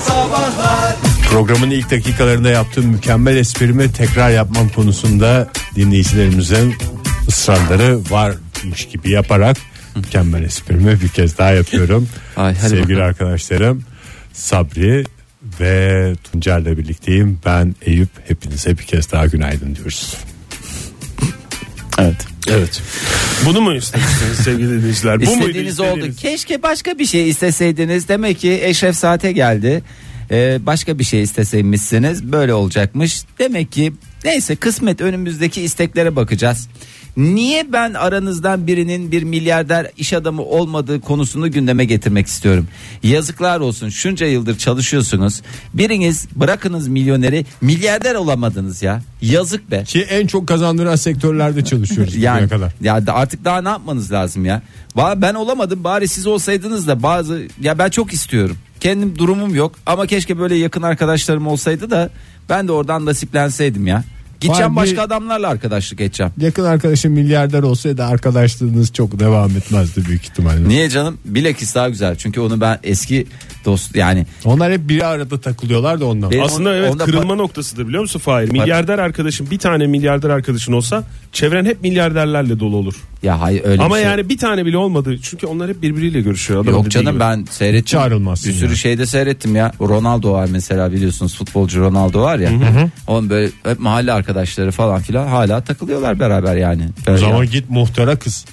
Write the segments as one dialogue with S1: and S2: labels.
S1: Sabahlar
S2: Programın ilk dakikalarında yaptığım mükemmel esprimi tekrar yapmam konusunda dinleyicilerimizin ısrarları varmış gibi yaparak mükemmel esprimi bir kez daha yapıyorum.
S3: Ay, hadi
S2: Sevgili
S3: bakalım.
S2: arkadaşlarım Sabri ve Tuncer'le birlikteyim. Ben Eyüp hepinize bir kez daha günaydın diyoruz.
S3: Evet.
S4: Evet. Bunu mu istemişsiniz sevgili dinleyiciler? Bu muydu
S3: İstediğiniz oldu.
S4: istediğiniz?
S3: Keşke başka bir şey isteseydiniz. Demek ki Eşref Saat'e geldi. Ee, başka bir şey isteseymişsiniz böyle olacakmış. Demek ki neyse kısmet önümüzdeki isteklere bakacağız. Niye ben aranızdan birinin bir milyarder iş adamı olmadığı konusunu gündeme getirmek istiyorum. Yazıklar olsun şunca yıldır çalışıyorsunuz. Biriniz bırakınız milyoneri milyarder olamadınız ya. Yazık be.
S2: Ki en çok kazandıran sektörlerde çalışıyoruz
S3: Yani
S2: bugüne kadar.
S3: ya da artık daha ne yapmanız lazım ya? Va- Ben olamadım bari siz olsaydınız da bazı ya ben çok istiyorum. Kendim durumum yok ama keşke böyle yakın arkadaşlarım olsaydı da ben de oradan nasiplenseydim ya. Gideceğim
S2: Var bir-
S3: başka adamlarla arkadaşlık edeceğim.
S2: Yakın arkadaşım milyarder olsaydı arkadaşlığınız çok devam etmezdi büyük ihtimalle.
S3: Niye canım? Bilakis daha güzel. Çünkü onu ben eski dost yani
S2: Onlar hep bir arada takılıyorlar da ondan.
S3: Benim
S4: Aslında
S3: on-
S4: evet
S3: onda
S4: kırılma noktasıdır biliyor musun Fahir? Milyarder arkadaşın bir tane milyarder arkadaşın olsa çevren hep milyarderlerle dolu olur.
S3: ya hayır öyle
S4: Ama
S3: bir şey-
S4: yani bir tane bile olmadı. Çünkü onlar hep birbiriyle görüşüyor. Adam
S3: Yok
S4: dediği
S3: canım
S4: gibi.
S3: ben seyrettim.
S2: Çağrılmazsın
S3: Bir sürü
S2: yani.
S3: şeyde seyrettim ya. Ronaldo var mesela biliyorsunuz futbolcu Ronaldo var ya. Onun böyle hep mahalle arkadaşları falan filan hala takılıyorlar beraber yani.
S2: O
S3: Böyle
S2: zaman
S3: ya.
S2: git muhtara kız.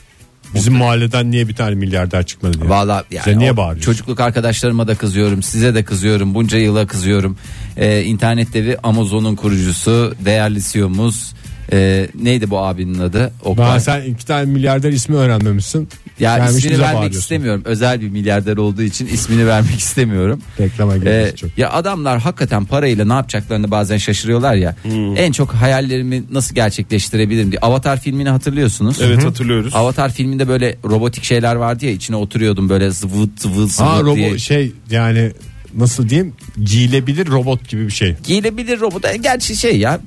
S2: Bizim mahalleden niye bir tane milyarder çıkmadı diye.
S3: Valla yani
S2: Sen niye
S3: o
S2: bağırıyorsun?
S3: çocukluk arkadaşlarıma da kızıyorum size de kızıyorum bunca yıla kızıyorum ee, internet devi Amazon'un kurucusu değerli CEO'muz ee, neydi bu abinin adı Oktay.
S2: Daha sen iki tane milyarder ismi öğrenmemişsin.
S3: Ya
S2: Gelmiş
S3: ismini
S2: bize
S3: vermek
S2: bağırıyorsun.
S3: istemiyorum. Özel bir milyarder olduğu için ismini vermek istemiyorum.
S2: Reklama girmesi çok.
S3: Ee, Ya adamlar hakikaten parayla ne yapacaklarını bazen şaşırıyorlar ya.
S4: Hmm.
S3: En çok hayallerimi nasıl gerçekleştirebilirim diye. Avatar filmini hatırlıyorsunuz.
S4: Evet hatırlıyoruz.
S3: Avatar filminde böyle robotik şeyler vardı ya içine oturuyordum böyle zıvıt zıvıt zıvıt
S2: Ha
S3: diye.
S2: robot şey yani nasıl diyeyim giyilebilir robot gibi bir şey.
S3: Giyilebilir robot. E, Gerçi şey ya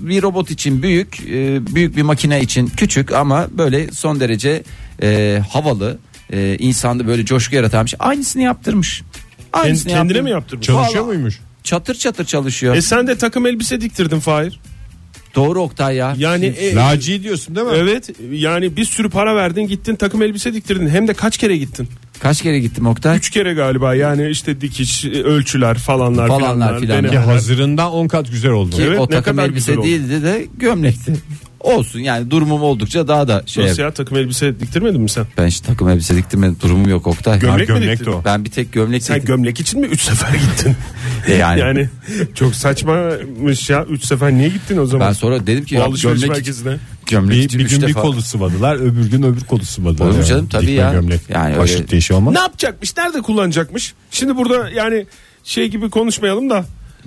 S3: bir robot için büyük, e, büyük bir makine için küçük ama böyle son derece e, havalı, e, insanda böyle coşku yaratan bir şey. Aynısını yaptırmış.
S4: Kend-
S3: Aynısını
S4: kendine
S3: yaptırmış.
S4: mi yaptırmış?
S2: Çalışıyor
S3: Vallahi-
S2: muymuş?
S3: Çatır çatır çalışıyor.
S4: E sen de takım elbise diktirdin Fahir.
S3: Doğru Oktay ya.
S4: Yani e,
S2: Naci diyorsun değil mi?
S4: evet yani bir sürü para verdin gittin takım elbise diktirdin. Hem de kaç kere gittin?
S3: Kaç kere gittim Oktay?
S4: Üç kere galiba yani işte dikiş e, ölçüler falanlar
S3: Falanlar
S4: falanlar.
S3: filanlar.
S4: denemeler.
S2: Ki hazırından 10 kat güzel oldu.
S3: Ki
S4: Evet,
S3: o
S4: ne
S3: takım
S4: kadar
S3: elbise
S4: güzel oldu.
S3: değildi de gömlekti. Olsun yani durumum oldukça daha da şey.
S4: Nasıl ya takım elbise diktirmedin mi sen?
S3: Ben hiç takım elbise diktirmedim. Durumum yok Oktay.
S2: Ha,
S4: gömlek mi
S2: gömlek de
S4: diktin?
S2: o.
S3: Ben bir tek gömlek
S4: Sen
S3: diktim.
S4: gömlek için mi 3 sefer gittin?
S3: E yani.
S4: yani. çok saçmamış ya 3 sefer niye gittin o zaman?
S3: Ben sonra dedim ki
S4: Bu
S3: ya
S4: alışveriş
S3: gömlek-
S4: merkezine.
S3: gömlek
S2: Bir,
S3: için
S2: bir
S3: üç
S2: gün bir
S3: defa-
S2: kolu sıvadılar öbür gün öbür kolu sıvadılar.
S3: Olur mu
S2: Yani
S3: canım? Tabii
S2: dikme
S3: ya.
S2: Gömlek.
S3: Yani
S2: Başlık
S3: öyle-
S2: değişi olmaz.
S4: Ne yapacakmış? Nerede kullanacakmış? Şimdi burada yani şey gibi konuşmayalım da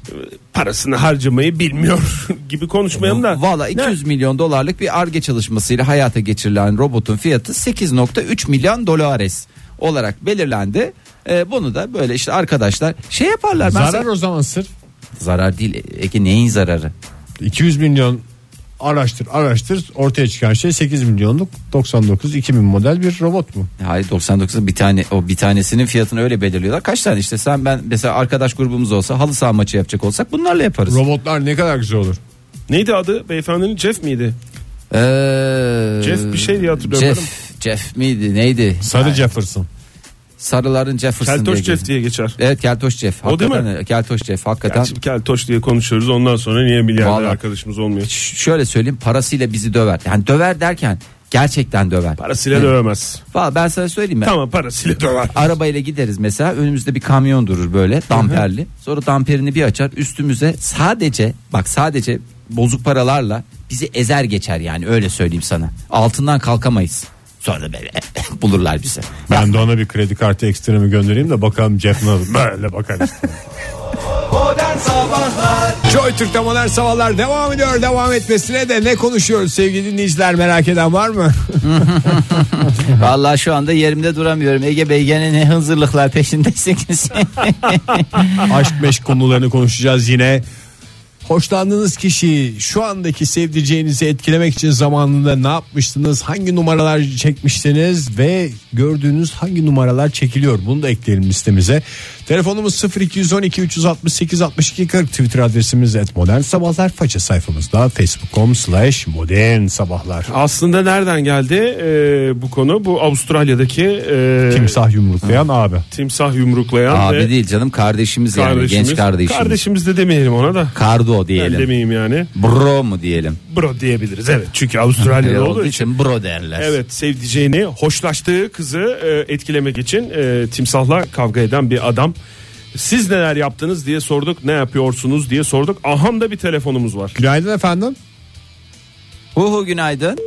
S4: e, parasını harcamayı bilmiyor gibi konuşmayalım da.
S3: Valla 200 milyon dolarlık bir arge çalışmasıyla hayata geçirilen robotun fiyatı 8.3 milyon dolares olarak belirlendi. Ee, bunu da böyle işte arkadaşlar şey yaparlar. ben
S2: Zarar
S3: sana-
S2: o zaman sırf.
S3: zarar değil. Ege neyin zararı?
S2: 200 milyon araştır araştır ortaya çıkan şey 8 milyonluk 99 2000 model bir robot mu?
S3: Hayır 99'un bir tane o bir tanesinin fiyatını öyle belirliyorlar. Kaç tane işte sen ben mesela arkadaş grubumuz olsa halı saha maçı yapacak olsak bunlarla yaparız.
S2: Robotlar ne kadar güzel olur.
S4: Neydi adı? Beyefendinin Jeff miydi?
S3: Ee,
S4: Jeff bir şey diye hatırlıyorum
S3: Jeff, Jeff miydi neydi?
S2: Sarı Jefferson.
S3: Sarıların Jefferson
S4: Keltoş
S3: diye
S4: Jeff
S3: geçiyor.
S4: diye geçer.
S3: Evet Keltoş Jeff.
S4: O değil mi?
S3: Hakikaten, Keltoş Jeff hakikaten.
S4: Gerçi Keltoş diye konuşuyoruz ondan sonra niye milyarder
S3: Vallahi.
S4: arkadaşımız olmuyor?
S3: Ş- şöyle söyleyeyim parasıyla bizi döver. Yani döver derken gerçekten döver.
S4: Parasıyla
S3: Evet.
S4: dövemez.
S3: Vallahi ben sana söyleyeyim mi?
S4: Tamam parasıyla döver.
S3: Arabayla gideriz mesela önümüzde bir kamyon durur böyle damperli. Sonra damperini bir açar üstümüze sadece bak sadece bozuk paralarla bizi ezer geçer yani öyle söyleyeyim sana. Altından kalkamayız. Sonra da böyle bulurlar bizi.
S2: Ben de ona bir kredi kartı ekstremi göndereyim de bakalım Jeff nasıl böyle bakar.
S1: Modern Sabahlar
S2: Joy Türk'te modern sabahlar devam ediyor. Devam etmesine de ne konuşuyoruz sevgili dinleyiciler merak eden var mı?
S3: Vallahi şu anda yerimde duramıyorum. Ege Bey gene ne hınzırlıklar peşindesiniz.
S2: Aşk meşk konularını konuşacağız yine. Hoşlandığınız kişiyi şu andaki sevdiceğinizi etkilemek için zamanında ne yapmıştınız? Hangi numaralar çekmiştiniz ve gördüğünüz hangi numaralar çekiliyor? Bunu da ekleyelim listemize. Telefonumuz 0212 368 62 40 Twitter adresimiz et modern sabahlar faça sayfamızda facebook.com slash modern sabahlar.
S4: Aslında nereden geldi e, bu konu? Bu Avustralya'daki e,
S2: Timsah yumruklayan abi.
S4: timsah yumruklayan ve
S3: Abi değil canım kardeşimiz, yani genç kardeşimiz.
S4: Kardeşimiz de demeyelim ona da.
S3: Kardo
S4: Ben
S3: diyelim.
S4: demeyeyim yani.
S3: Bro mu diyelim?
S4: Bro diyebiliriz evet. Çünkü Avustralya'da
S3: olduğu
S4: olduğu için.
S3: için bro derler.
S4: Evet sevdiceğini, hoşlaştığı kızı e, etkilemek için e, timsahla kavga eden bir adam. Siz neler yaptınız diye sorduk. Ne yapıyorsunuz diye sorduk. Aham da bir telefonumuz var.
S2: Günaydın efendim.
S3: Huhu günaydın.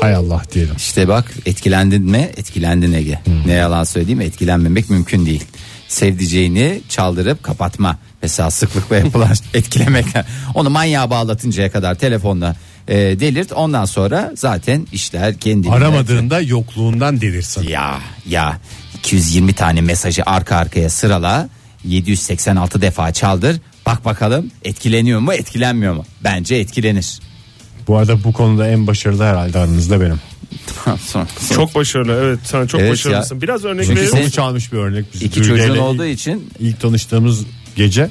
S2: Hay Allah diyelim.
S3: İşte bak etkilendin mi? Etkilendin Ege. Ne yalan söyleyeyim etkilenmemek mümkün değil. Sevdiceğini çaldırıp kapatma. Mesela sıklıkla yapılan etkilemek. Onu manyağa bağlatıncaya kadar telefonla e, delirt. Ondan sonra zaten işler kendini.
S2: Aramadığında yokluğundan delirsin.
S3: Ya ya 220 tane mesajı arka arkaya sırala 786 defa çaldır. Bak bakalım etkileniyor mu etkilenmiyor mu? Bence etkilenir.
S2: Bu arada bu konuda en başarılı herhalde aranızda benim.
S3: Sonra-
S4: Çok başarılı evet sen çok
S3: Evet
S4: başarılısın.
S3: ya.
S4: Biraz örnek
S3: Çünkü
S4: verelim.
S3: sen-
S2: Sonuç almış bir örnek. Biz
S3: İki
S2: Duygu
S3: çocuğun
S2: ile
S3: olduğu
S2: ilk-
S3: için
S2: ilk tanıştığımız gece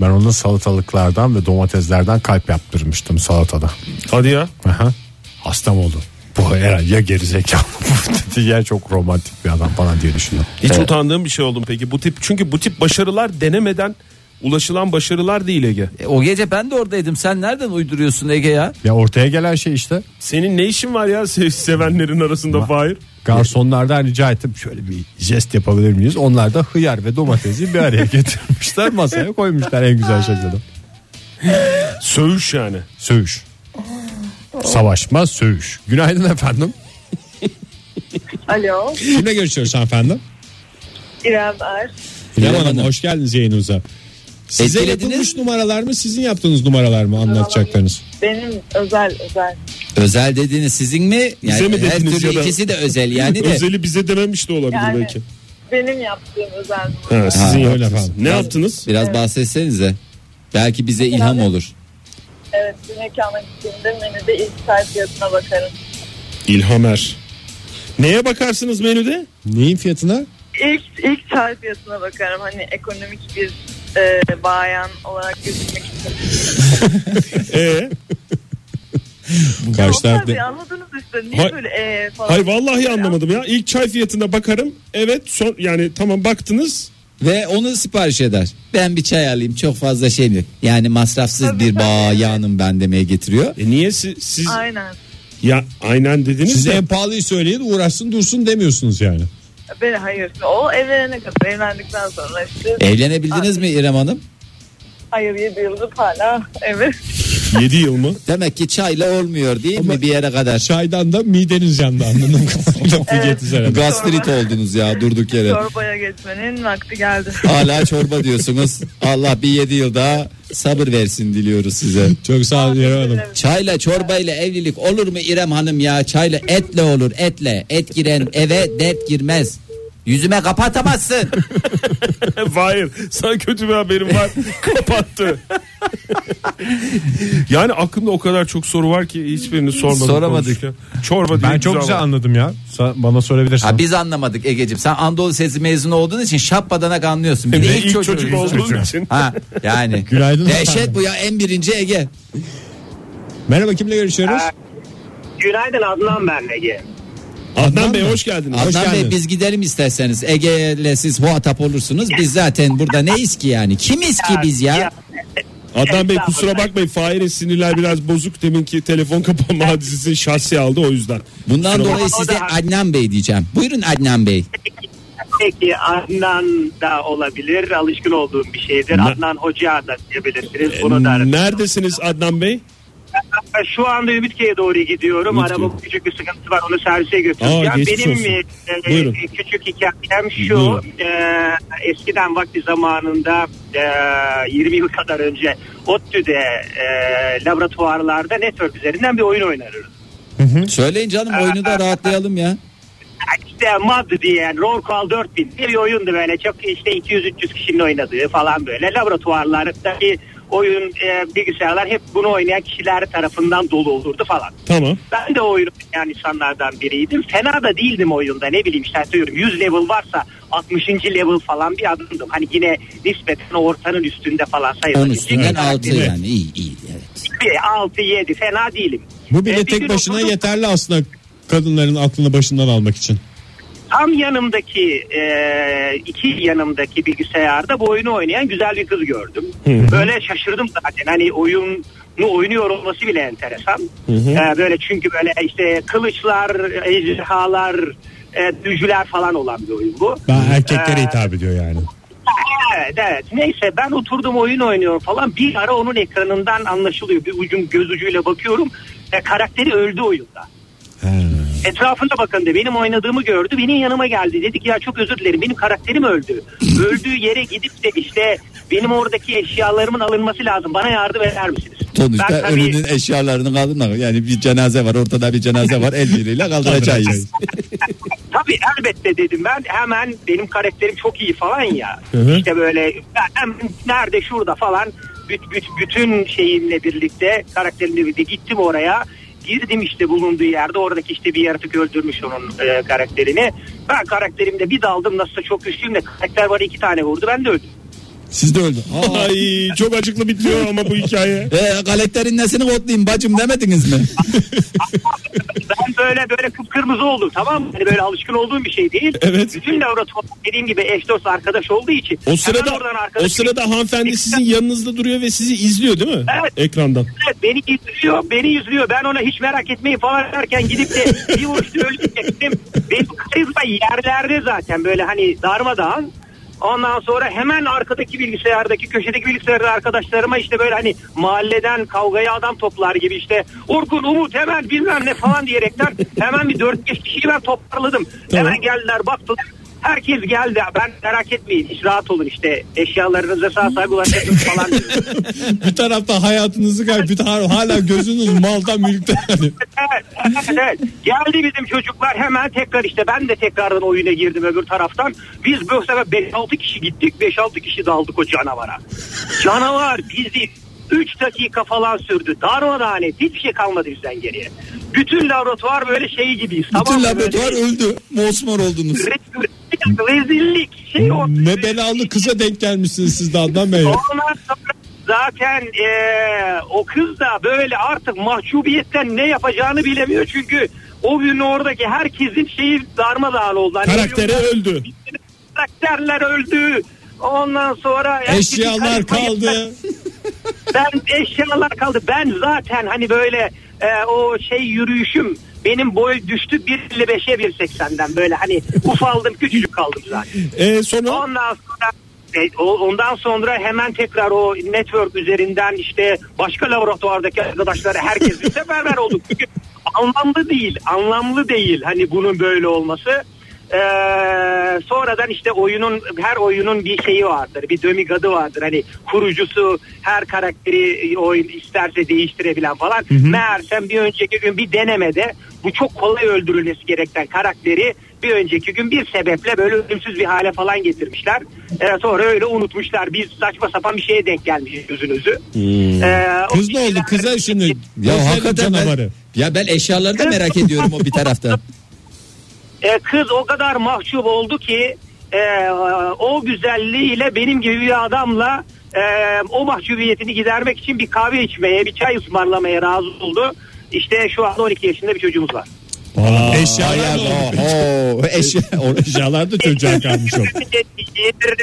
S2: ben ona salatalıklardan ve domateslerden kalp yaptırmıştım salatada.
S4: Hadi ya.
S2: Aha. Hastam oldu. Bu herhalde ya gerizekalı bu dedi ya çok romantik bir adam falan diye düşündüm.
S4: Hiç
S3: Evet.
S4: utandığım bir şey oldu mu peki bu tip çünkü bu tip başarılar denemeden ulaşılan başarılar değil Ege.
S3: E, o gece ben de oradaydım. Sen nereden uyduruyorsun Ege ya?
S2: Ya ortaya gelen şey işte
S4: Senin ne işin var ya se- sevenlerin arasında Fahir?
S2: garsonlardan rica ettim şöyle bir jest yapabilir miyiz? Onlar da hıyar ve domatesi bir araya getirmişler masaya koymuşlar en güzel şekilde.
S4: Söğüş yani.
S2: Söğüş. Savaşma söğüş. Günaydın efendim.
S5: Alo,
S2: Kimle görüşüyoruz efendim?
S5: İrem Er.
S2: İrem
S3: Hanım,
S2: Hanım hoş geldiniz yayınımıza. Size
S3: Etkilediniz.
S2: yapılmış numaralar mı sizin yaptığınız numaralar mı anlatacaklarınız?
S5: Benim özel özel.
S3: Özel dediğiniz sizin mi? Yani
S4: Bize mi
S3: her
S4: dediniz
S3: türlü
S4: ya da-
S3: ikisi de özel yani de.
S4: Özeli bize dememiş de olabilir
S5: Yani
S4: belki.
S5: benim yaptığım özel. numara.
S4: Ha, sizin
S2: öyle
S4: yaptınız.
S2: efendim.
S4: Ne yaptınız?
S3: Biraz bahsetsenize. Belki bize ilham olur.
S5: Evet, bir mekana gittiğimde menüde ilk sayfa fiyatına bakarım.
S4: İlhamer. Neye bakarsınız menüde?
S2: Neyin fiyatına?
S5: İlk ilk sayfa fiyatına bakarım. Hani ekonomik bir e, bayan olarak gözükmek için.
S4: Ee,
S2: Karşı
S5: Ama
S2: tarafta-
S5: tabii anladınız işte. Niye
S4: Hay-
S5: böyle e falan.
S4: hayır vallahi anlamadım ya. İlk çay fiyatına bakarım. Evet son yani tamam baktınız.
S3: Ve onu sipariş eder. Ben bir çay alayım çok fazla şey mi? Yani masrafsız
S5: Tabii,
S3: bir
S5: tabii.
S3: bayanım ben demeye getiriyor.
S4: E niye si- siz,
S5: Aynen.
S4: ya aynen dediniz
S2: Siz
S4: de
S2: en pahalıyı söyleyin uğraşsın dursun demiyorsunuz yani.
S5: Ben hayır. O evlenene kadar evlendikten sonra işte
S3: Evlenebildiniz mi İrem Hanım?
S5: hayır yedi yıldır hala evet.
S4: 7 yıl mı?
S3: Demek ki çayla olmuyor değil mi bir yere kadar?
S2: Çaydan da mideniz yandı anladığım kadarıyla.
S5: Evet.
S3: Gastrit oldunuz ya durduk yere.
S5: Çorbaya geçmenin vakti geldi.
S3: Hala çorba diyorsunuz. Allah bir yedi yıl daha sabır versin diliyoruz size.
S2: Çok sağ olun İrem Hanım.
S3: Çayla çorbayla evlilik olur mu İrem Hanım ya? Çayla etle olur etle. Et giren eve dert girmez. Yüzüme kapatamazsın.
S4: Hayır E, sana kötü bir haberim var kapattı. yani aklımda o kadar çok soru var ki hiçbirini sormadım.
S3: Soramadık.
S4: konuşurken. Çorba diye
S2: Ben çok güzel
S4: var.
S2: anladım ya. Sa- Bana sorabilirsin.
S3: ha, biz anlamadık Egeciğim. Sen Anadolu Sesi mezunu olduğun için şapbadanak anlıyorsun. Bir
S4: Ve
S3: de
S4: ilk çocuk, olduğum için.
S3: Ha yani.
S2: Günaydın efendim.
S3: Dehşet bu ya en birinci Ege.
S2: Merhaba kimle görüşüyoruz?
S6: Günaydın Adnan ben Ege.
S4: Adnan Bey
S2: mı?
S4: hoş geldiniz. Hoş
S3: Adnan Bey
S4: geldiniz.
S3: biz gidelim isterseniz. Ege'yle siz muhatap olursunuz. Biz zaten burada neyiz ki yani? Kimiz ki biz ya?
S4: Adnan Bey kusura bakmayın Fahir'in sinirler biraz bozuk. Deminki telefon kapanma hadisesini şahsi aldı o yüzden.
S3: Bundan
S4: Kusura
S3: dolayı
S6: bakma.
S3: size Adnan Bey diyeceğim. Buyurun Adnan Bey.
S6: Peki Adnan da olabilir. Alışkın olduğum bir şeydir. Adnan Hoca da
S4: E,
S6: diyebilirsiniz. Bunu da
S4: bakmayın. Neredesiniz Adnan Bey?
S6: Şu anda Ümitköy'e doğru gidiyorum.
S4: Ümitköy.
S6: Arabamın küçük bir sıkıntısı var. Onu servise götüreceğim.
S4: Aa, geçmiş
S6: Benim
S4: olsun.
S6: e,
S4: Buyurun.
S6: e, küçük hikayem şu.
S4: Buyurun.
S6: e, eskiden vakti zamanında e, 20 yıl kadar önce ODTÜ'de e, laboratuvarlarda network üzerinden bir oyun oynarız.
S3: Söyleyin canım oyunu da rahatlayalım ya.
S6: İşte MAD diye yani Roll Call 4000 diye bir oyundu böyle çok işte 200-300 kişinin oynadığı falan böyle laboratuvarlardaki oyun e, bilgisayarlar hep bunu oynayan kişiler tarafından dolu olurdu falan.
S4: Tamam.
S6: Ben de oyun oynayan insanlardan biriydim. Fena da değildim oyunda ne bileyim işte atıyorum 100 level varsa 60. level falan bir adamdım. Hani yine nispeten ortanın üstünde falan sayılır.
S7: Ön üstünden
S6: Yine
S7: altı yani iyi iyi. Evet.
S6: bir 6 7 fena değilim.
S2: Bu bile
S6: Ee, bir
S2: tek
S6: gün
S2: başına
S6: oturdum,
S2: yeterli aslında kadınların aklını başından almak için.
S6: Tam yanımdaki e, iki yanımdaki bilgisayarda bu oyunu oynayan güzel bir kız gördüm. Böyle şaşırdım zaten. Hani oyunu oynuyor olması bile enteresan. E, böyle çünkü böyle işte kılıçlar, ejderhalar, e, düzcüler falan olan bir oyun bu.
S2: Ben erkeklere
S6: Ee,
S2: hitap ediyor yani.
S6: Evet evet. Neyse ben oturdum oyun oynuyorum falan. Bir ara onun ekranından anlaşılıyor. Bir ucum göz ucuyla bakıyorum. E, karakteri öldü oyunda. Etrafına bakın de benim oynadığımı gördü. Benim yanıma geldi. Dedi ki ya çok özür dilerim benim karakterim öldü. Öldüğü yere gidip de işte benim oradaki eşyalarımın alınması lazım. Bana yardım eder misiniz?
S7: Sonuçta
S6: Ben tabii-
S7: ölünün eşyalarını kaldırmak. Yani bir cenaze var ortada bir cenaze var el birliğiyle kaldıracağız.
S6: Tabii elbette dedim ben. Hemen benim karakterim çok iyi falan ya.
S2: hı.
S6: İşte böyle ben hemen nerede şurada falan büt, büt, bütün şeyimle birlikte karakterimle birlikte gittim oraya. Girdim işte bulunduğu yerde oradaki işte bir yaratık öldürmüş onun e, karakterini. Ben karakterimde bir daldım nasılsa çok güçlüyüm de karakter bana iki tane vurdu ben de öldüm.
S7: Siz de öldü. Aa,
S2: Ay çok acıklı bitiyor ama bu hikaye.
S7: e, galakterin nesini kodlayayım bacım demediniz mi?
S6: Ben böyle böyle kıpkırmızı oldum tamam mı? Hani böyle alışkın olduğum bir şey değil.
S4: Evet.
S6: Bütün laboratuvar dediğim gibi eş dost arkadaş olduğu için.
S4: O
S6: hemen
S4: sırada
S6: oradan
S4: o
S6: arkadaş-
S4: sırada hanımefendi sizin yanınızda duruyor ve sizi izliyor değil mi?
S6: Evet.
S4: Ekrandan.
S6: Evet, beni izliyor, beni izliyor. Ben ona hiç merak etmeyin falan derken gidip de bir vuruşta öldürecektim. Benim karizma yerlerde zaten böyle hani darmadağın. Ondan sonra hemen arkadaki bilgisayardaki köşedeki bilgisayarda arkadaşlarıma işte böyle hani mahalleden kavgaya adam toplar gibi işte Orkun, Umut hemen bilmem ne falan diyerekten hemen bir 4-5 kişiyi ben toparladım. Hemen geldiler baktılar. Herkes geldi. Ben merak etmeyin. Hiç rahat olun işte. Eşyalarınıza sağ sahibi ulaşın falan.
S2: bir tarafta hayatınızı kaybı bir tarafta hala gözünüz malda mülkte. yani.
S6: Evet, evet, evet. Geldi bizim çocuklar hemen tekrar işte ben de tekrardan oyuna girdim öbür taraftan. Biz bu sefer 5-6 kişi gittik 5-6 kişi daldık o canavara. Canavar bizi 3 dakika falan sürdü. Darmadağın etti. Hiçbir şey kalmadı bizden geriye. Bütün laboratuvar böyle şey gibiyiz.
S7: Bütün
S6: mı?
S7: laboratuvar
S6: Böyle
S7: öldü. Mosmor oldunuz.
S6: rezillik, Rezillik. Şey o.
S2: Ne belalı kıza denk gelmişsiniz siz de Adnan Bey.
S6: Ondan sonra zaten eee, o kız da böyle artık mahcubiyetten ne yapacağını bilemiyor çünkü o gün oradaki herkesin şeyi darmadağın oldu. Hani
S2: Karakteri
S6: ölüyorlar,
S2: öldü.
S6: Karakterler öldü. Ondan sonra herkesin
S2: Eşyalar
S6: karizma-
S2: kaldı.
S6: Ben eşyalar kaldı. Ben zaten hani böyle eee, o şey yürüyüşüm benim boy düştü 1.55'e 1.80'den böyle hani ufaldım küçücük kaldım zaten.
S2: E, sonra
S6: Ondan sonra e, o- ondan sonra hemen tekrar o network üzerinden işte başka laboratuvardaki arkadaşlara herkesle seferber olduk. Çünkü anlamlı değil, anlamlı değil hani bunun böyle olması. Ee, sonradan işte oyunun her oyunun bir şeyi vardır. Bir dömigadı vardır. Hani kurucusu her karakteri oyun isterse değiştirebilen falan. Meğersem bir önceki gün bir denemede bu çok kolay öldürülmesi gereken karakteri bir önceki gün bir sebeple böyle ölümsüz bir hale falan getirmişler. Ee, sonra öyle unutmuşlar. Biz saçma sapan bir şeye denk gelmişiz yüzünüzü. Ee, o
S2: kız ne oldu
S6: kişiler-
S2: kıza şimdi?
S7: Ya
S2: Özledim
S7: hakikaten
S2: canavarı.
S7: ben, ya ben eşyaları da merak ediyorum o bir taraftan.
S6: E, kız o kadar mahcup oldu ki e, o güzelliğiyle benim gibi bir adamla e, o mahcubiyetini gidermek için bir kahve içmeye, bir çay ısmarlamaya razı oldu. İşte şu anda 12 yaşında bir çocuğumuz var.
S2: Eşyalar
S7: Ay,
S2: da oldu.
S7: oho, eşya, o-
S2: Eşyalar da çocuğa kalmış oldu.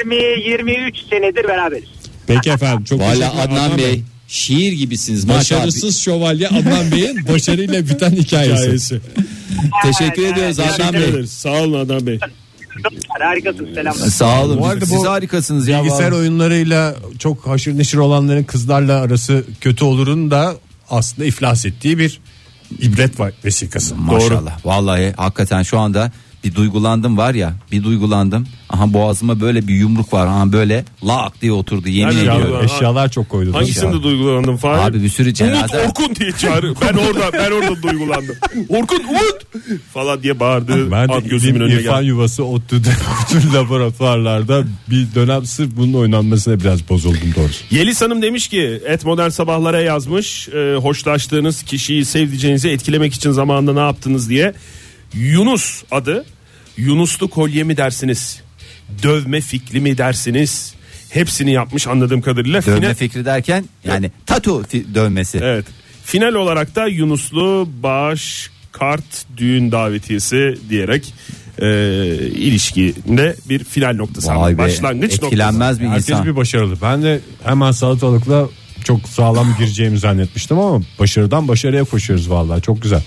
S6: 20 23 senedir beraberiz.
S2: Peki efendim çok
S7: Valla
S2: teşekkürler
S7: Adnan Bey şiir gibisiniz maşallah.
S2: Başarısız şövalye Adnan Bey'in başarıyla biten hikayesi.
S4: Hikayesi.
S7: Teşekkür
S6: Evet,
S7: ediyoruz
S6: evet.
S7: Adnan
S4: Teşekkür
S7: Bey.
S4: ederiz. Sağ olun Adnan Bey.
S6: Harikasın selamlar.
S7: Sağ olun.
S2: Bu arada
S7: Siz
S2: bu
S7: harikasınız ya.
S2: Bilgisayar
S7: vallahi.
S2: oyunlarıyla çok haşır neşir olanların kızlarla arası kötü olurun da aslında iflas ettiği bir ibret var vesikası. Doğru.
S7: Maşallah. Vallahi hakikaten şu anda bir duygulandım var ya bir duygulandım. Aha boğazıma böyle bir yumruk var. Aha böyle lak diye oturdu yemin
S4: Nerede
S7: ediyorum.
S4: yavrum?
S2: Eşyalar çok koydu.
S4: Hangisinde duygulandım Fahir?
S7: Abi bir sürü
S4: Umut
S7: cenaze.
S4: Orkun diye çağırıyor. Ben orada ben orada duygulandım. Orkun Umut falan diye bağırdı.
S2: Ben de
S4: At gözümün önüne
S2: İrfan
S4: geldi.
S2: Yuvası ODTÜ'de bütün laboratuvarlarda bir dönem sırf bunun oynanmasına biraz bozuldum doğrusu.
S4: Yeliz Hanım demiş ki et modern sabahlara yazmış. e, hoşlaştığınız kişiyi sevdiceğinizi etkilemek için zamanında ne yaptınız diye. Yunus adı. Yunuslu kolye mi dersiniz? dövme fikri mi dersiniz? Hepsini yapmış anladığım kadarıyla.
S3: Dövme
S4: Final-
S3: fikri derken yani tatu fi- dövmesi.
S4: Evet. Final olarak da Yunuslu bağış kart düğün davetiyesi diyerek e, ilişkinde bir final noktası.
S3: Vay
S4: ama
S3: be,
S4: Başlangıç noktası.
S3: etkilenmez bir
S2: Herkes
S3: insan.
S2: bir başarılı. Ben de hemen salatalıkla çok sağlam gireceğimi zannetmiştim ama başarıdan başarıya koşuyoruz vallahi çok güzel.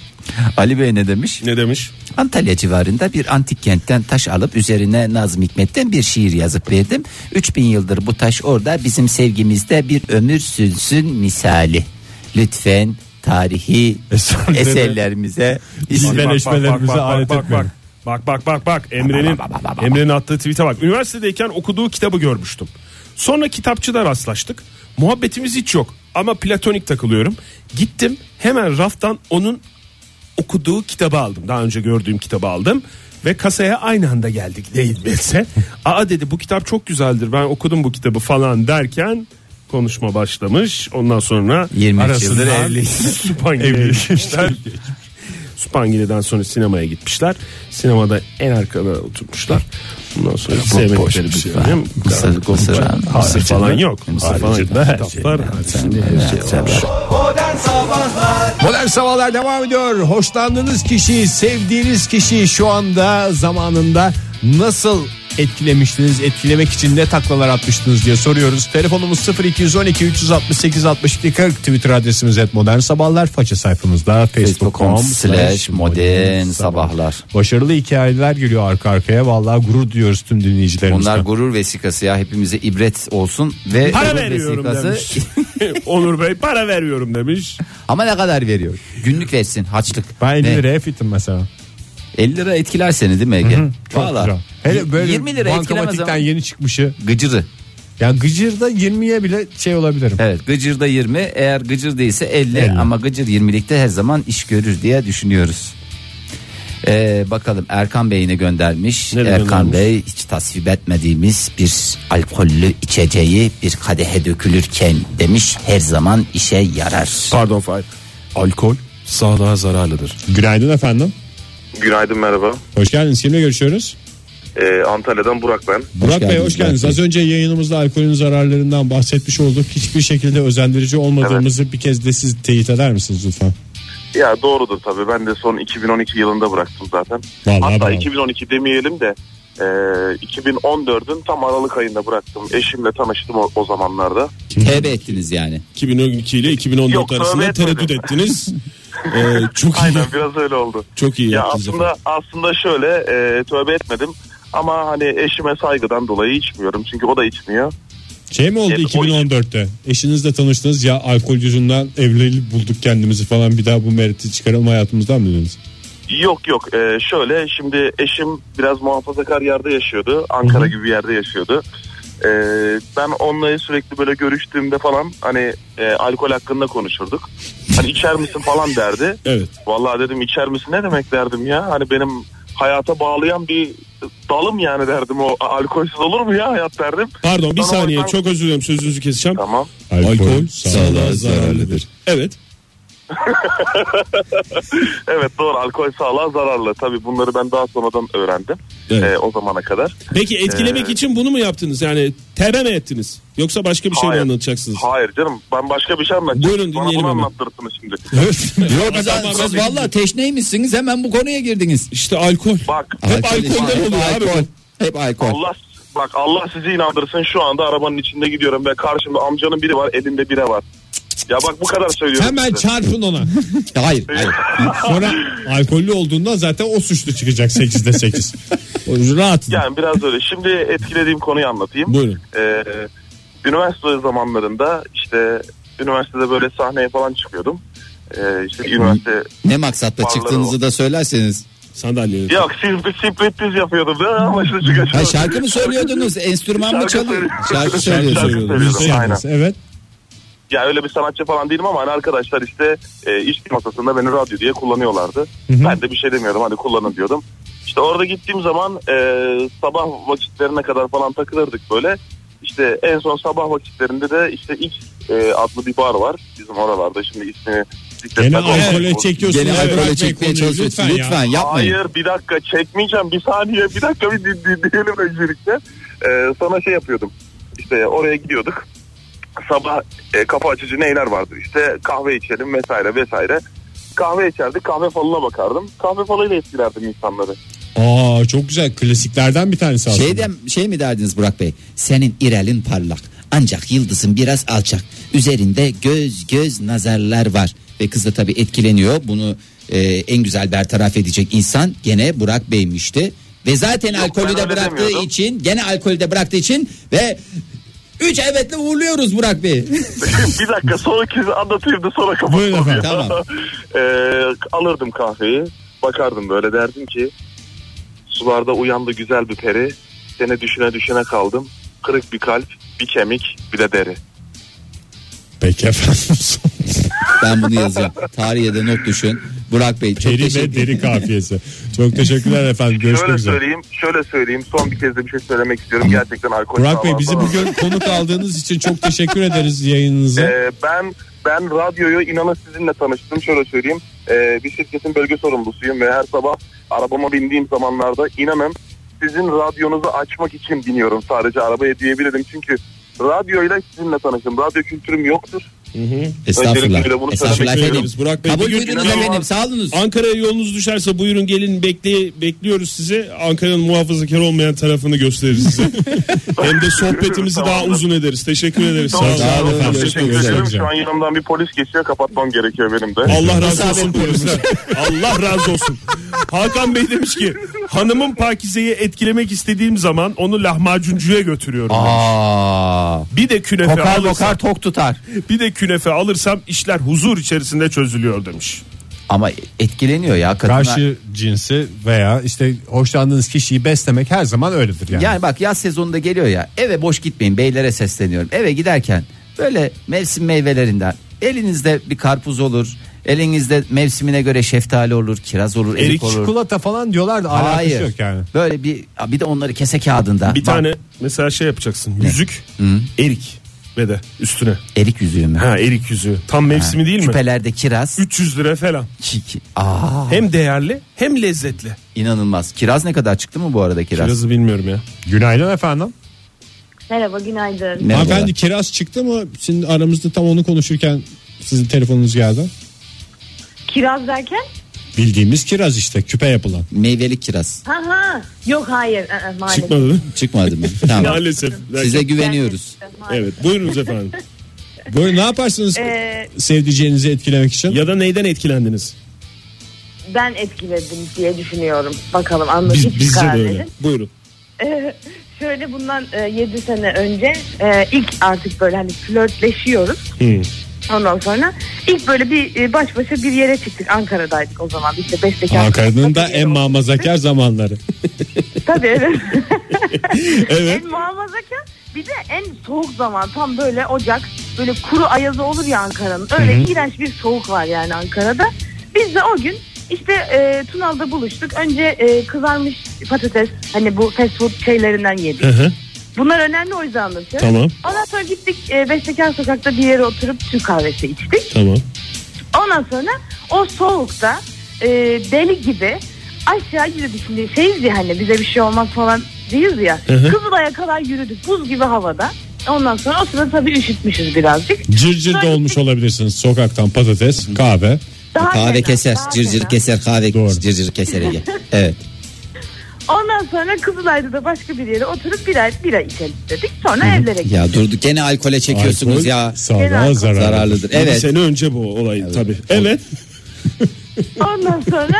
S3: Ali Bey ne demiş?
S4: Ne demiş?
S3: Antalya civarında bir antik kentten taş alıp üzerine Nazım Hikmet'ten bir şiir yazıp verdim. 3000 yıldır bu taş orada bizim sevgimizde bir ömür sürsün misali. Lütfen tarihi
S2: Eserlere-
S3: eserlerimize
S2: Biz
S4: Bak, bak,
S2: benleşmelerimize
S4: bak, bak,
S2: alet
S4: bak,
S2: etmeyelim.
S4: Bak bak bak bak Emre'nin Emre'nin attığı tweet'e bak. Üniversitedeyken okuduğu kitabı görmüştüm. Sonra kitapçıda rastlaştık. Muhabbetimiz hiç yok ama platonik takılıyorum. Gittim hemen raftan onun okuduğu kitabı aldım. Daha önce gördüğüm kitabı aldım ve kasaya aynı anda geldik değilse. Aa dedi bu kitap çok güzeldir. Ben okudum bu kitabı falan derken konuşma başlamış. Ondan sonra
S3: 20 yıldır
S4: arasından
S3: evli.
S4: Spangile'ye gitmişler. Spangile'den sonra sinemaya gitmişler. Sinemada en arkada oturmuşlar. Ondan sonra sevmedikleri bir şey.
S3: Mısır-
S4: Mısır,
S3: Mısır-
S4: Mısır
S3: Mısır-
S4: falan yok. Mısır falan yok. Kitaplar.
S1: Modern Sabahlar
S2: Modern Sabahlar devam ediyor. Hoşlandığınız kişiyi, sevdiğiniz kişiyi şu anda zamanında nasıl etkilemiştiniz, etkilemek için ne taklalar atmıştınız diye soruyoruz. Telefonumuz 0212 368 62 40 Twitter adresimiz et modern sabahlar. Faça sayfamızda facebook.com
S3: Facebook.com slash modern sabahlar.
S2: Başarılı hikayeler geliyor arka arkaya. Vallahi gurur diyoruz tüm dinleyicilerimizden.
S3: Onlar gurur vesikası ya hepimize ibret olsun ve
S4: Para
S3: gurur
S4: veriyorum demiş. Onur Bey para veriyorum demiş.
S3: Ama ne kadar veriyor? Günlük versin haçlık.
S2: Ben 50
S3: Ne?
S2: liraya fitim mesela.
S3: 50 lira etkiler seni değil mi Ege?
S2: Çok
S3: Valla.
S2: güzel. Hele böyle
S3: 20 lira etkilemez
S2: bankamatikten
S3: ama.
S2: yeni çıkmışı.
S3: Gıcırı.
S2: Yani gıcırda 20'ye bile şey olabilirim.
S3: Evet gıcırda 20 eğer gıcır değilse 50, ama gıcır 20'likte her zaman iş görür diye düşünüyoruz. Ee, bakalım Erkan Bey'ine göndermiş.
S4: Nereye
S3: Erkan
S4: göndermiş?
S3: Bey hiç tasvip etmediğimiz bir alkollü içeceği bir kadehe dökülürken demiş her zaman işe yarar.
S4: Pardon Fahir. Alkol sağlığa zararlıdır.
S2: Günaydın efendim.
S8: Günaydın merhaba.
S2: Hoş geldiniz. Kimle görüşüyoruz?
S8: Ee, Antalya'dan Burak ben.
S2: Burak Bey
S3: geldiniz
S2: hoş geldiniz.
S3: Burak
S2: Az önce yayınımızda alkolün zararlarından bahsetmiş olduk. Hiçbir şekilde özendirici olmadığımızı bir kez de siz teyit eder misiniz lütfen?
S8: Ya doğrudur tabii ben de son 2012 yılında bıraktım zaten.
S2: Vallahi
S8: Hatta
S2: bravo.
S8: 2012 demeyelim de e, 2014'ün tam Aralık ayında bıraktım. Eşimle tanıştım o, o zamanlarda.
S3: Tevbe ettiniz yani.
S4: 2012 ile 2014
S8: Yok, tövbe arasında etmedim. tereddüt
S4: ettiniz. Ee, çok
S8: Aynen biraz öyle oldu.
S4: Çok iyi
S8: Ya aslında aslında şöyle e, tövbe etmedim ama hani eşime saygıdan dolayı içmiyorum çünkü o da içmiyor.
S2: Şey mi oldu
S8: Evet, o-
S2: 2014'te? Eşinizle tanıştınız ya alkol yüzünden evlilik bulduk kendimizi falan bir daha bu meriti çıkaralım hayatımızdan mı dediniz?
S8: Yok yok e, şöyle şimdi eşim biraz muhafazakar yerde yaşıyordu. Ankara gibi bir yerde yaşıyordu. E, ben onunla sürekli böyle görüştüğümde falan hani e, alkol hakkında konuşurduk. Hani içer misin falan derdi.
S4: Evet.
S8: Vallahi dedim içer misin ne demek derdim ya. Hani benim hayata bağlayan bir dalım yani derdim o alkolsüz olur mu ya hayat derdim.
S4: Pardon bir
S8: Bana
S4: saniye
S8: bakan-
S4: çok özür dilerim sözünüzü keseceğim.
S8: Tamam.
S4: Alkol sağlığa zararlıdır. Evet.
S8: Evet doğru alkol sağlığa zararlı. Tabii bunları ben daha sonradan öğrendim.
S4: Evet.
S8: E, o zamana kadar.
S4: Peki etkilemek
S8: Ee,
S4: için bunu mu yaptınız? Yani tebe mi ettiniz? Yoksa başka bir şey mi
S8: Hayır.
S4: anlatacaksınız?
S8: Hayır canım ben başka bir şey anlatacağım.
S4: Buyurun,
S8: Bana
S4: dinleyelim
S8: bunu
S4: hemen.
S8: anlattırsınız şimdi.
S3: Yok
S4: Tamam,
S3: siz
S4: ben-
S3: valla teşneymişsiniz hemen bu konuya girdiniz.
S4: İşte alkol.
S8: Bak
S4: Hep alkolden
S3: hep
S4: oluyor abi bu.
S3: alkol. Hep alkol.
S8: Allah bak Allah sizi inandırsın şu anda arabanın içinde gidiyorum ve karşımda amcanın biri var elinde bira var. Ya bak bu kadar söylüyorum.
S2: Hemen
S8: size.
S2: çarpın ona.
S3: Hayır, hayır.
S2: Sonra alkollü olduğundan zaten o suçlu çıkacak 8'de 8. Rahat.
S8: Yani biraz öyle. Şimdi etkilediğim konuyu anlatayım.
S2: Buyurun.
S8: Ee, üniversite zamanlarında işte üniversitede böyle sahneye falan çıkıyordum. Ee, işte üniversite
S3: Ne maksatla
S8: Varlar
S3: çıktığınızı da söylerseniz.
S4: Sandalye.
S8: yok simp- simple düz yapıyordum da ama şimdi çıkacağım.
S3: Ha, şarkı mı söylüyordunuz? Enstrüman mı
S8: Şarkı
S3: çalıyordunuz?
S8: söylüyorum.
S3: Şarkı
S8: Şarkı
S3: söylüyordunuz.
S2: Şey
S8: söylüyordum, aynen.
S2: Evet.
S8: Ya öyle bir sanatçı falan değilim ama hani arkadaşlar işte e, iş masasında beni radyo diye kullanıyorlardı. Ben de bir şey demiyordum hadi kullanın diyordum. İşte orada gittiğim zaman e, sabah vakitlerine kadar falan takılırdık böyle. İşte en son sabah vakitlerinde de işte X e, adlı bir bar var bizim oralarda şimdi ismini zikretmek
S2: Gene
S8: olmaz.
S2: alkole çekiyorsun.
S3: Gene
S2: ya,
S3: alkole
S2: bırakmayın
S3: çekmeye
S2: konuyu
S3: çalışıyorsunuz.
S2: ya.
S3: Lütfen yapmayın.
S8: Hayır bir dakika çekmeyeceğim bir saniye bir dakika bir din- din- dinleyelim öncelikle. Ee, sana şey yapıyordum. İşte oraya gidiyorduk. Sabah e, kapı açıcı neyler vardı işte kahve içelim vesaire vesaire. Kahve içerdik kahve falına bakardım. Kahve falıyla etkilerdim insanları.
S2: Aa çok güzel klasiklerden bir tanesi aslında.
S7: Şeyden, şey mi derdiniz Burak Bey? Senin irelin parlak. Ancak yıldızın biraz alçak. Üzerinde göz göz nazarlar var. Ve kız da tabii etkileniyor. Bunu e, en güzel bertaraf edecek insan gene Burak Bey'mişti. Ve zaten alkolü
S8: ben
S7: de
S8: öyle
S7: bıraktığı
S8: demiyordum.
S7: için gene alkolü de bıraktığı için ve 3 evetle uğurluyoruz Burak Bey.
S8: bir dakika son ikinizi anlatayım da sonra
S2: Buyurun
S8: kapatalım.
S2: efendim.
S7: Tamam.
S8: Ee, alırdım kahveyi bakardım böyle derdim ki sularda uyandı güzel bir peri seni düşüne düşüne kaldım kırık bir kalp bir kemik bir de deri.
S2: Peki efendim. son
S7: ben bunu yazacağım. Tarihe de not düşün. Burak Bey çok
S2: Peri
S7: teşekkür
S2: ve deri kafiyesi. Çok teşekkürler efendim.
S8: şöyle
S2: Görüşmek üzere.
S8: söyleyeyim şöyle söyleyeyim son bir kez de bir şey söylemek istiyorum gerçekten alkol
S2: Burak Bey bizi
S8: bağlantılı.
S2: bugün konuk aldığınız için çok teşekkür ederiz yayınınıza.
S8: Ee, ben ben radyoyu inanın sizinle tanıştım. Şöyle söyleyeyim. Ee, bir şirketin bölge sorumlusuyum ve her sabah arabama bindiğim zamanlarda inanın sizin radyonuzu açmak için biniyorum sadece arabaya diyebilirim. Çünkü radyoyla sizinle tanıştım. Radyo kültürüm yoktur.
S7: Estağfurullah.
S8: Öncelikle bunu
S7: Estağfurullah
S8: söylemek
S7: efendim.
S4: istiyoruz. Burak Bey,
S7: Kabul
S4: bugün
S7: buyurunuz
S4: inanılmaz-
S7: efendim. Sağolunuz.
S4: Ankara'ya yolunuz düşerse buyurun gelin bekle, bekliyoruz sizi. Ankara'nın muhafazakar olmayan tarafını gösteririz size. Hem de sohbetimizi daha
S8: Tamamdır.
S4: uzun ederiz. Teşekkür ederiz.
S8: Tamam,
S2: Sağ olun efendim.
S8: Teşekkür
S2: Çok güzel.
S8: ederim. Şu an yanımdan bir polis geçiyor. Kapatmam gerekiyor benim de.
S4: Allah razı olsun polisler. Allah razı olsun. Hakan Bey demiş ki hanımın Pakize'yi etkilemek istediğim zaman onu lahmacuncuya götürüyorum.
S3: Aa,
S4: Bir de künefe
S3: kokar
S4: alırsam,
S3: kokar tok tutar.
S4: bir de künefe alırsam işler huzur içerisinde çözülüyor demiş.
S3: Ama etkileniyor ya kadınlar.
S2: Karşı cinsi veya işte hoşlandığınız kişiyi beslemek her zaman öyledir yani.
S3: Yani bak yaz sezonunda geliyor ya eve boş gitmeyin beylere sesleniyorum. Eve giderken böyle mevsim meyvelerinden elinizde bir karpuz olur. Elinizde mevsimine göre şeftali olur, kiraz olur, erik,
S4: Erik,
S3: olur.
S2: Çikolata falan diyorlar da alakası yok yani.
S3: Böyle bir bir de onları kese kağıdında.
S4: Bir
S3: Bak,
S4: tane mesela şey yapacaksın. Yüzük, erik ve de üstüne.
S3: erik yüzüğü mü?
S4: Ha erik yüzüğü. Tam mevsimi değil mi?
S3: Küpelerde kiraz.
S4: 300 lira falan.
S3: Çiki. Aa
S4: Hem değerli hem lezzetli.
S3: inanılmaz. Kiraz ne kadar çıktı mı bu arada kiraz?
S4: Birazı bilmiyorum ya.
S2: Günaydın efendim.
S5: Merhaba günaydın.
S3: Merhabalar.
S9: Hanımefendi kiraz çıktı mı? Şimdi aramızda tam onu konuşurken sizin telefonunuz geldi.
S5: Kiraz derken?
S9: Bildiğimiz kiraz işte küpe yapılan.
S7: Meyveli kiraz.
S5: Ha ha. Yok hayır ı, ı, maalesef.
S4: Çıkmadı mı?
S7: Çıkmadı mı? Tamam.
S4: Maalesef.
S7: Size güveniyoruz.
S5: Maalesef.
S4: Evet buyurunuz efendim.
S9: Böyle ne yaparsınız
S5: Ee,
S9: sevdiceğinizi etkilemek için?
S4: ya da neyden etkilendiniz?
S5: ben etkiledim diye düşünüyorum. Bakalım anlatayım.
S4: Biz, bizce de öyle. Buyurun.
S5: Ee, şöyle bundan 7 sene önce e, ilk artık böyle hani flörtleşiyoruz. Ondan sonra ilk böyle bir e, baş başa bir yere çıktık. Ankara'daydık o zaman. İşte beş bekar-
S9: Ankara'nın da
S5: Tabii,
S9: en mamazakar zamanları.
S5: Tabii evet.
S4: Evet.
S5: En muhafazakar bir de en soğuk zaman tam böyle Ocak böyle kuru ayazı olur ya Ankara'nın. Öyle iğrenç bir soğuk var yani Ankara'da. Biz de o gün işte e, Tunal'da buluştuk. Önce e, kızarmış patates hani bu fast food şeylerinden yedik. Bunlar önemli o yüzden anlatıyorum.
S4: Tamam.
S5: Ondan sonra gittik e, Bestekar Sokak'ta bir yere oturup Türk kahvesi içtik.
S4: Tamam.
S5: Ondan sonra o soğukta e, deli gibi aşağı yürüdük. Şimdi şeyiz ya hani bize bir şey olmaz falan değiliz ya. Kızılay'a kadar yürüdük buz gibi havada. Ondan sonra o sırada tabii üşütmüşüz birazcık.
S9: Cırcır dolmuş olabilirsiniz sokaktan patates, kahve.
S5: Daha
S7: Kahve
S5: fena,
S7: keser.
S5: daha
S7: Cırcır
S5: fena.
S7: keser kahve.
S9: Doğru.
S7: Cırcır keser Ege. Evet.
S5: Ondan sonra Kızılay'da da başka bir yere oturup birer bira içelim dedik. Sonra evlere gittik.
S7: Ya durduk gene alkole çekiyorsunuz
S9: Alkol
S7: ya.
S9: Sağlığa
S5: Genel-
S9: zararlı.
S7: Zararlıdır.
S4: Bir
S7: Evet.
S4: sene önce bu olay tabii. Evet.
S5: Ondan sonra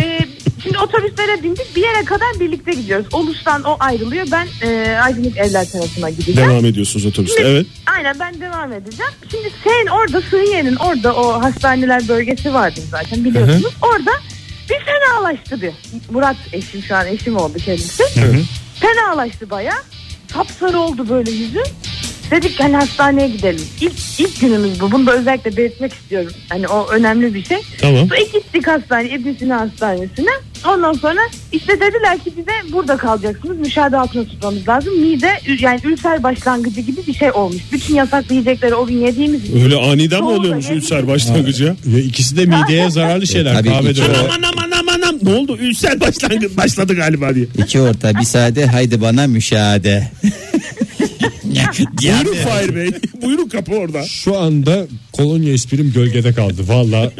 S5: e, şimdi otobüslere bindik bir yere kadar birlikte gidiyoruz. Oluştan o ayrılıyor. Ben e, Aydınlık Evler tarafına gideceğim.
S4: Devam ediyorsunuz otobüste.
S5: Şimdi-
S4: Evet.
S5: Aynen ben devam edeceğim. Şimdi sen orada Sığıye'nin orada o hastaneler bölgesi vardı zaten biliyorsunuz. Orada bir fenalaştı bir. Murat eşim şu an eşim oldu kendisi. Fenalaştı baya. Sapsarı oldu böyle yüzü. Dedik ki hani hastaneye gidelim. İlk, ilk günümüz bu. Bunu da özellikle belirtmek istiyorum. Hani o önemli bir şey.
S4: Tamam.
S5: İlk gittik hastane, İbn Sina Hastanesi'ne. Ondan sonra işte dediler ki bize burada kalacaksınız. Müşahede altına tutmamız lazım. Mide ü- yani ülser başlangıcı gibi bir şey olmuş. Bütün yasaklı yiyecekleri o gün yediğimiz için.
S4: Öyle aniden mi
S5: Doğru,
S4: oluyormuş
S5: evet.
S4: ülser başlangıcı?
S9: Ya ikisi de mideye zararlı şeyler.
S7: tabii
S9: kahve
S7: ki.
S9: de öyle.
S4: Aman aman aman aman.
S10: ne oldu? Ünsel başlangıç başladı galiba diye.
S3: İki orta bir sade haydi bana müşahede.
S10: Buyurun Fahir Bey. Buyurun kapı orada.
S2: Şu anda kolonya esprim gölgede kaldı. Valla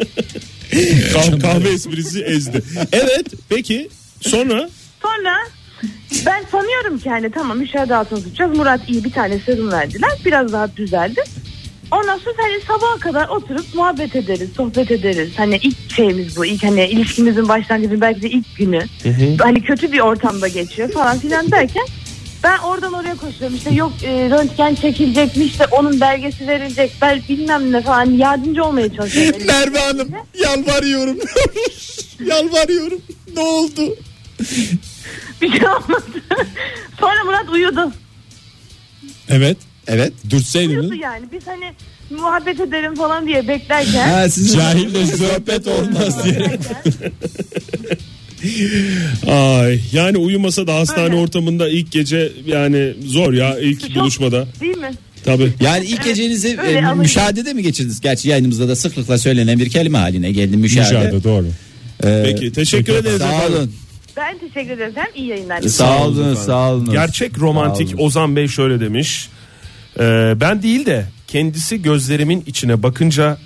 S10: Kah- kahve esprisi ezdi. Evet peki sonra
S5: Sonra ben sanıyorum ki hani tamam müşahede altına tutacağız. Murat iyi bir tane serum verdiler. Biraz daha düzeldi. Ondan sonra hani sabaha kadar oturup muhabbet ederiz, sohbet ederiz. Hani ilk şeyimiz bu. ilk hani ilişkimizin başlangıcı belki de ilk günü. Hani kötü bir ortamda geçiyor falan filan derken ben oradan oraya koşuyorum. İşte yok e, röntgen çekilecekmiş de onun belgesi verilecek. Ben bilmem ne falan Hani yardımcı olmaya çalışıyorum.
S10: Merve Hanım yalvarıyorum. yalvarıyorum. Ne oldu?
S5: Bir şey olmadı. Sonra Murat uyudu.
S2: evet
S3: Evet.
S2: dürtseydin.
S5: Uyudu yani. Biz hani muhabbet edelim falan diye beklerken.
S3: Ha, sizin
S2: Cahille sohbet olmaz diye.
S10: Ay yani uyumasa da hastane
S5: Öyle.
S10: ortamında ilk gece yani zor ya ilk
S5: Çok-
S10: buluşmada.
S5: Değil mi?
S10: Tabii.
S3: Yani ilk gecenizi
S5: öyle
S3: e,
S5: alındı.
S3: müşahedede mi geçirdiniz? Gerçi yayınımızda da sıklıkla söylenen bir kelime haline geldi müşahede.
S2: Müşahede doğru.
S3: Ee,
S10: Peki teşekkür ederiz
S3: Sağ
S10: efendim.
S3: olun.
S5: Ben teşekkür ederim. Hem iyi yayınlar.
S3: Sağ olun, sağ olun.
S4: Gerçek romantik Ozan Bey şöyle demiş. Ee, ben değil de kendisi gözlerimin içine bakınca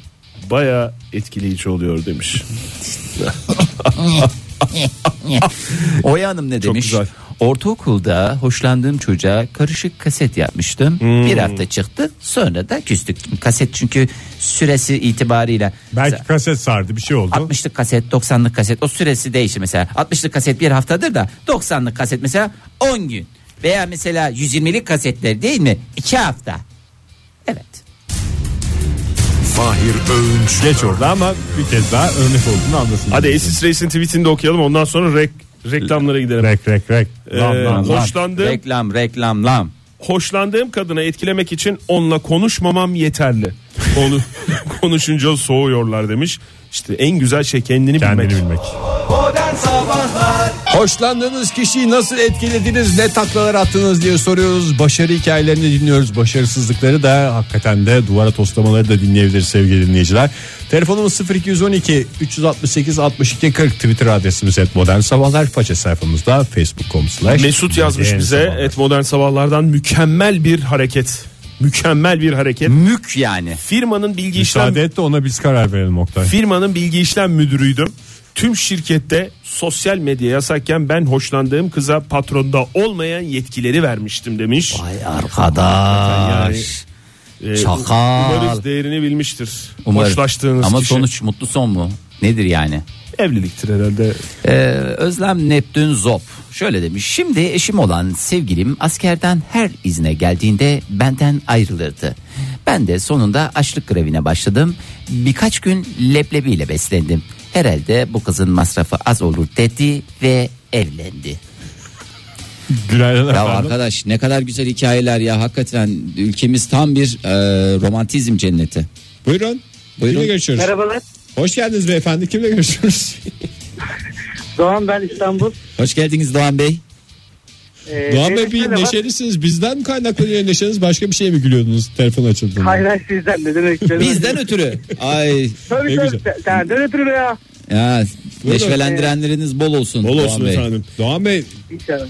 S4: baya etkileyici oluyor demiş.
S3: Oya Hanım ne demiş?
S4: güzel.
S3: Ortaokulda hoşlandığım çocuğa karışık kaset yapmıştım. Bir hafta çıktı sonra da küstük. Kaset çünkü süresi itibarıyla.
S11: Belki kaset sardı bir şey oldu.
S3: 60'lık kaset 90'lık kaset o süresi değişir mesela 60'lık kaset bir haftadır da 90'lık kaset mesela 10 gün veya mesela 120'lik kasetler değil mi 2 hafta evet
S11: Fahir Öğünç. Geç orada ama bir kez daha örnek olduğunu anlasın.
S4: Hadi Esis Reis'in tweetini de okuyalım ondan sonra rek, reklamlara gidelim.
S11: Rek rek rek. Lan,
S4: Ee,
S11: lan, lan.
S4: hoşlandığım,
S3: reklam reklam lam
S4: hoşlandığım kadına etkilemek için onunla konuşmamam yeterli. Konu, konuşunca soğuyorlar demiş. İşte en güzel şey kendini,
S11: Kendini
S4: bilmek.
S11: bilmek.
S1: Modern Sabahlar
S2: Hoşlandığınız kişiyi nasıl etkilediniz, ne taklalar attınız diye soruyoruz. Başarı hikayelerini dinliyoruz. Başarısızlıkları da hakikaten de duvara toslamaları da dinleyebiliriz sevgili dinleyiciler. Telefonumuz 0212 368 62 40 Twitter adresimiz et modern sabahlar. Faça sayfamızda facebook.com slash
S4: Mesut yazmış
S2: Modern
S4: bize
S2: Sabahlar.
S4: et modern sabahlardan mükemmel bir hareket. Mükemmel bir hareket.
S3: mük yani
S4: Firmanın bilgi işlem
S11: Müsaade et de ona biz karar verelim Oktay.
S4: Firmanın bilgi işlem müdürüydüm. Tüm şirkette sosyal medya yasakken ben hoşlandığım kıza patronda olmayan yetkileri vermiştim demiş.
S3: ay arkadaş
S4: Ee,
S3: Çakal.
S4: Umarız değerini bilmiştir.
S3: Umarım.
S4: Hoşlaştığınız
S3: ama
S4: kişi.
S3: sonuç mutlu son mu nedir yani
S4: evliliktir herhalde.
S3: Ee, Özlem Neptün Zop şöyle demiş. Şimdi eşim olan sevgilim askerden her izne geldiğinde benden ayrılırdı. Ben de sonunda açlık grevine başladım. Birkaç gün leblebiyle beslendim. Herhalde bu kızın masrafı az olur dedi ve evlendi.
S11: Günaydın
S3: Ya
S11: efendim.
S3: arkadaş ne kadar güzel hikayeler ya hakikaten ülkemiz tam bir e, romantizm cenneti.
S2: Buyurun.
S3: Buyurun.
S2: Kimle görüşüyoruz?
S6: Merhabalar.
S2: Hoş geldiniz beyefendi. Kimle görüşüyoruz?
S6: Doğan ben İstanbul.
S3: Hoş geldiniz Doğan Bey.
S6: Ee,
S2: Doğan Bey
S6: benim
S2: bir
S6: şöyle var.
S2: neşelisiniz. Bizden mi kaynaklanıyor neşeniz? Başka bir şeye mi gülüyordunuz telefon açıldığında?
S6: Hayır hayır sizden ne demek istedim.
S3: Bizden ötürü. Ay
S6: Tabii
S2: Ne
S6: tabii.
S2: güzel.
S6: Senden ötürü ya.
S3: ya, neşvelendirenleriniz bol olsun.
S2: Bol
S3: Doğan
S2: olsun
S3: Bey.
S2: efendim. Doğan Bey
S6: İnşallah.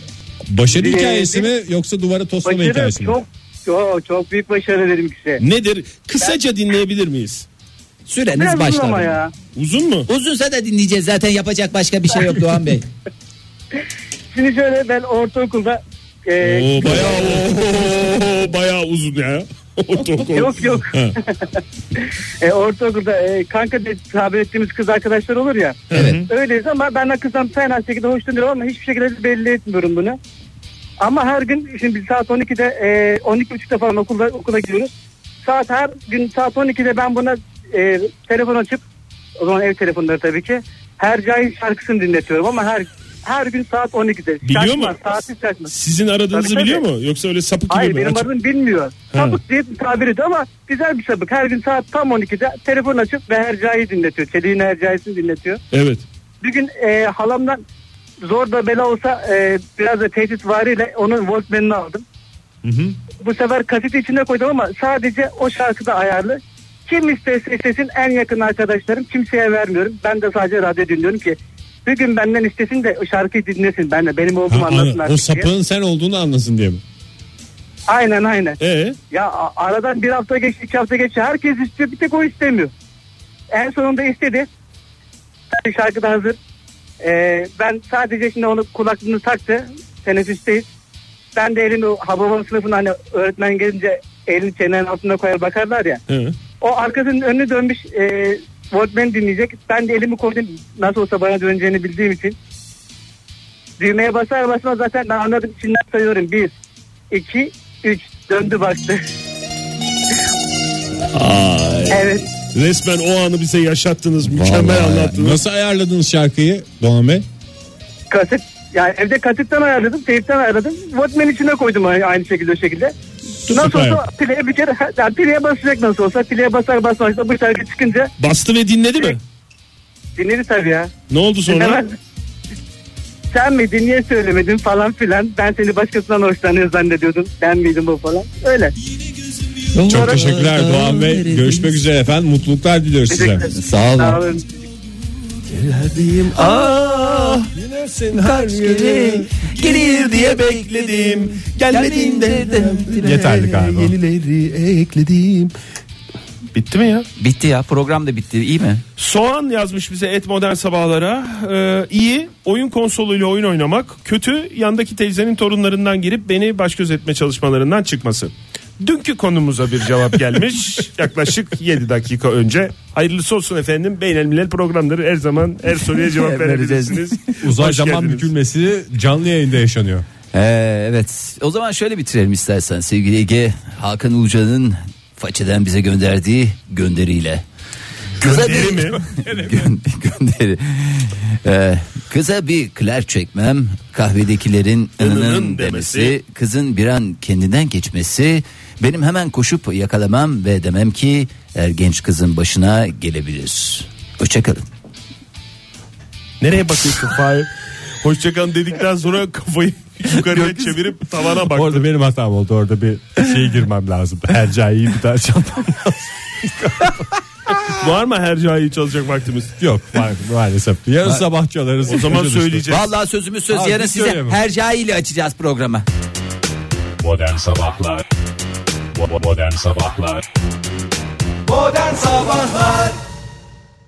S2: başarı
S6: Ee,
S2: hikayesi mi yoksa duvara toslama
S6: Başarı
S2: hikayesi mi?
S6: çok, çok, çok büyük başarı dedim size.
S10: Nedir? Kısaca dinleyebilir miyiz?
S3: Süreniz
S6: Biraz uzun
S3: başladı.
S6: ama ya.
S10: Uzun mu?
S3: Uzunsa da dinleyeceğiz zaten yapacak başka bir şey yok Doğan Bey.
S6: Şimdi şöyle ben ortaokulda e,
S10: Oo bayağı oo, bayağı uzun ya. Ortaokul.
S6: Yok yok. e, ortaokulda e, kanka diye tabir ettiğimiz kız arkadaşlar olur ya.
S3: Evet.
S6: Öyleyiz ama ben kızdan fena şekilde hoşlanıyorum ama hiçbir şekilde belli etmiyorum bunu. Ama her gün şimdi biz saat 12'de e, 12.30'da falan okulda, okula gidiyoruz. Saat her gün saat 12'de ben buna e, telefon açıp o zaman ev telefonları tabii ki her cahil şarkısını dinletiyorum ama her her gün saat 12'de.
S10: Biliyor
S6: Şarkı
S10: mu?
S6: var, Saati şarkı.
S10: Sizin aradığınızı
S6: Tabii,
S10: biliyor mu? Yoksa öyle sapık gibi
S6: Hayır
S10: mi?
S6: benim
S10: Açık-
S6: adım bilmiyor. Sapık diye bir tabir ediyor ama güzel bir sapık. Her gün saat tam 12'de telefon açıp ve Hercai'yi dinletiyor. Çelik'in Hercai'sini dinletiyor.
S10: Evet.
S6: Bir gün e, halamdan zor da bela olsa e, biraz da tehdit variyle onun Walkman'ını aldım. Bu sefer kaseti içine koydum ama sadece o şarkıda ayarlı. Kim isterse istesin en yakın arkadaşlarım kimseye vermiyorum. Ben de sadece radyo dinliyorum ki Bir gün benden istesin de o şarkıyı dinlesin. Ben de benim olduğumu anlasın
S12: o
S6: artık diye.
S12: sapığın sen olduğunu anlasın diye mi?
S6: Aynen aynen.
S12: Ee?
S6: Ya a- aradan bir hafta geçti iki hafta geçti. Herkes istiyor bir tek o istemiyor. En sonunda istedi. Şarkı da hazır. Ee, ben sadece şimdi onu kulaklığını taktı. Teneffüsteyiz. Ben de elimi o havaalanı sınıfına hani öğretmen gelince elini çenenin altına koyar bakarlar ya.
S12: Hı.
S6: O arkasının önünü dönmüş e, Walkman dinleyecek. Ben de elimi koydum nasıl olsa bana döneceğini bildiğim için. Düğmeye basar basmaz zaten ben anladım. Şimdi sayıyorum. Bir, iki, üç. Döndü baktı. evet.
S12: Resmen o anı bize yaşattınız. Mükemmel
S13: Vallahi ya.
S12: anlattınız.
S13: Nasıl ayarladınız şarkıyı Doğan Bey?
S6: Kaset yani evde kasetten ayarladım, teypten ayarladım. Walkman içine koydum aynı aynı şekilde o şekilde. Nasıl olsa play'e bir kere yani play'e basacak nasıl olsa play'e basar basmaz da bu şarkı çıkınca
S12: Bastı ve dinledi mi?
S6: dinledi tabii ya.
S12: Ne oldu sonra?
S6: Dinlemez. Sen miydin niye söylemedin falan filan. Ben seni başkasından hoşlanıyor zannediyordum. Ben miydim bu falan. Öyle.
S13: Çok teşekkürler Doğan Bey. Görüşmek üzere efendim. Mutluluklar diliyoruz size.
S3: Sağ olun.
S6: Sağ olun.
S2: her yeri
S3: Gelir diye
S2: bekledim.
S3: gelmedin de.
S2: Yeterli galiba.
S4: Yenileri ekledim. Bitti mi ya?
S3: Bitti ya program da bitti iyi mi?
S4: Soğan yazmış bize et modern sabahlara. Ee, iyi oyun konsoluyla oyun oynamak. Kötü yandaki teyzenin torunlarından girip beni baş göz etme çalışmalarından çıkması. Dünkü konumuza bir cevap gelmiş. Yaklaşık 7 dakika önce. Hayırlısı olsun efendim. Beynelmiler programları her zaman her soruya cevap verebilirsiniz.
S2: Uzay
S4: Hoş
S2: zaman
S4: geldiniz.
S2: bükülmesi canlı yayında yaşanıyor.
S3: Ee, evet o zaman şöyle bitirelim istersen sevgili Ege Hakan Uca'nın façeden bize gönderdiği gönderiyle. Kıza
S4: Gönderi
S3: bir-
S4: mi?
S3: Gön- gönderi. Ee, kıza bir kler çekmem kahvedekilerin ınının
S4: Inının
S3: demesi
S4: demesi.
S3: kızın bir an kendinden geçmesi benim hemen koşup yakalamam ve demem ki er genç kızın başına gelebilir. Hoşçakalın.
S4: Nereye bakıyorsun Fahir? Hoşçakalın dedikten sonra kafayı yukarıya çevirip tavana baktı.
S2: Orada benim hatam oldu. Orada bir şeye girmem lazım. Her iyi bir tane çantam
S4: Var mı her cahil çalacak vaktimiz?
S2: yok. ma- Maalesef. Yarın sabah çalarız.
S4: O zaman söyleyeceğiz.
S3: Vallahi sözümüz söz
S2: Abi
S3: yarın
S2: biz
S3: size
S2: söyleme.
S3: her cahili açacağız programı.
S12: Modern Sabahlar Modern Sabahlar
S1: Modern Sabahlar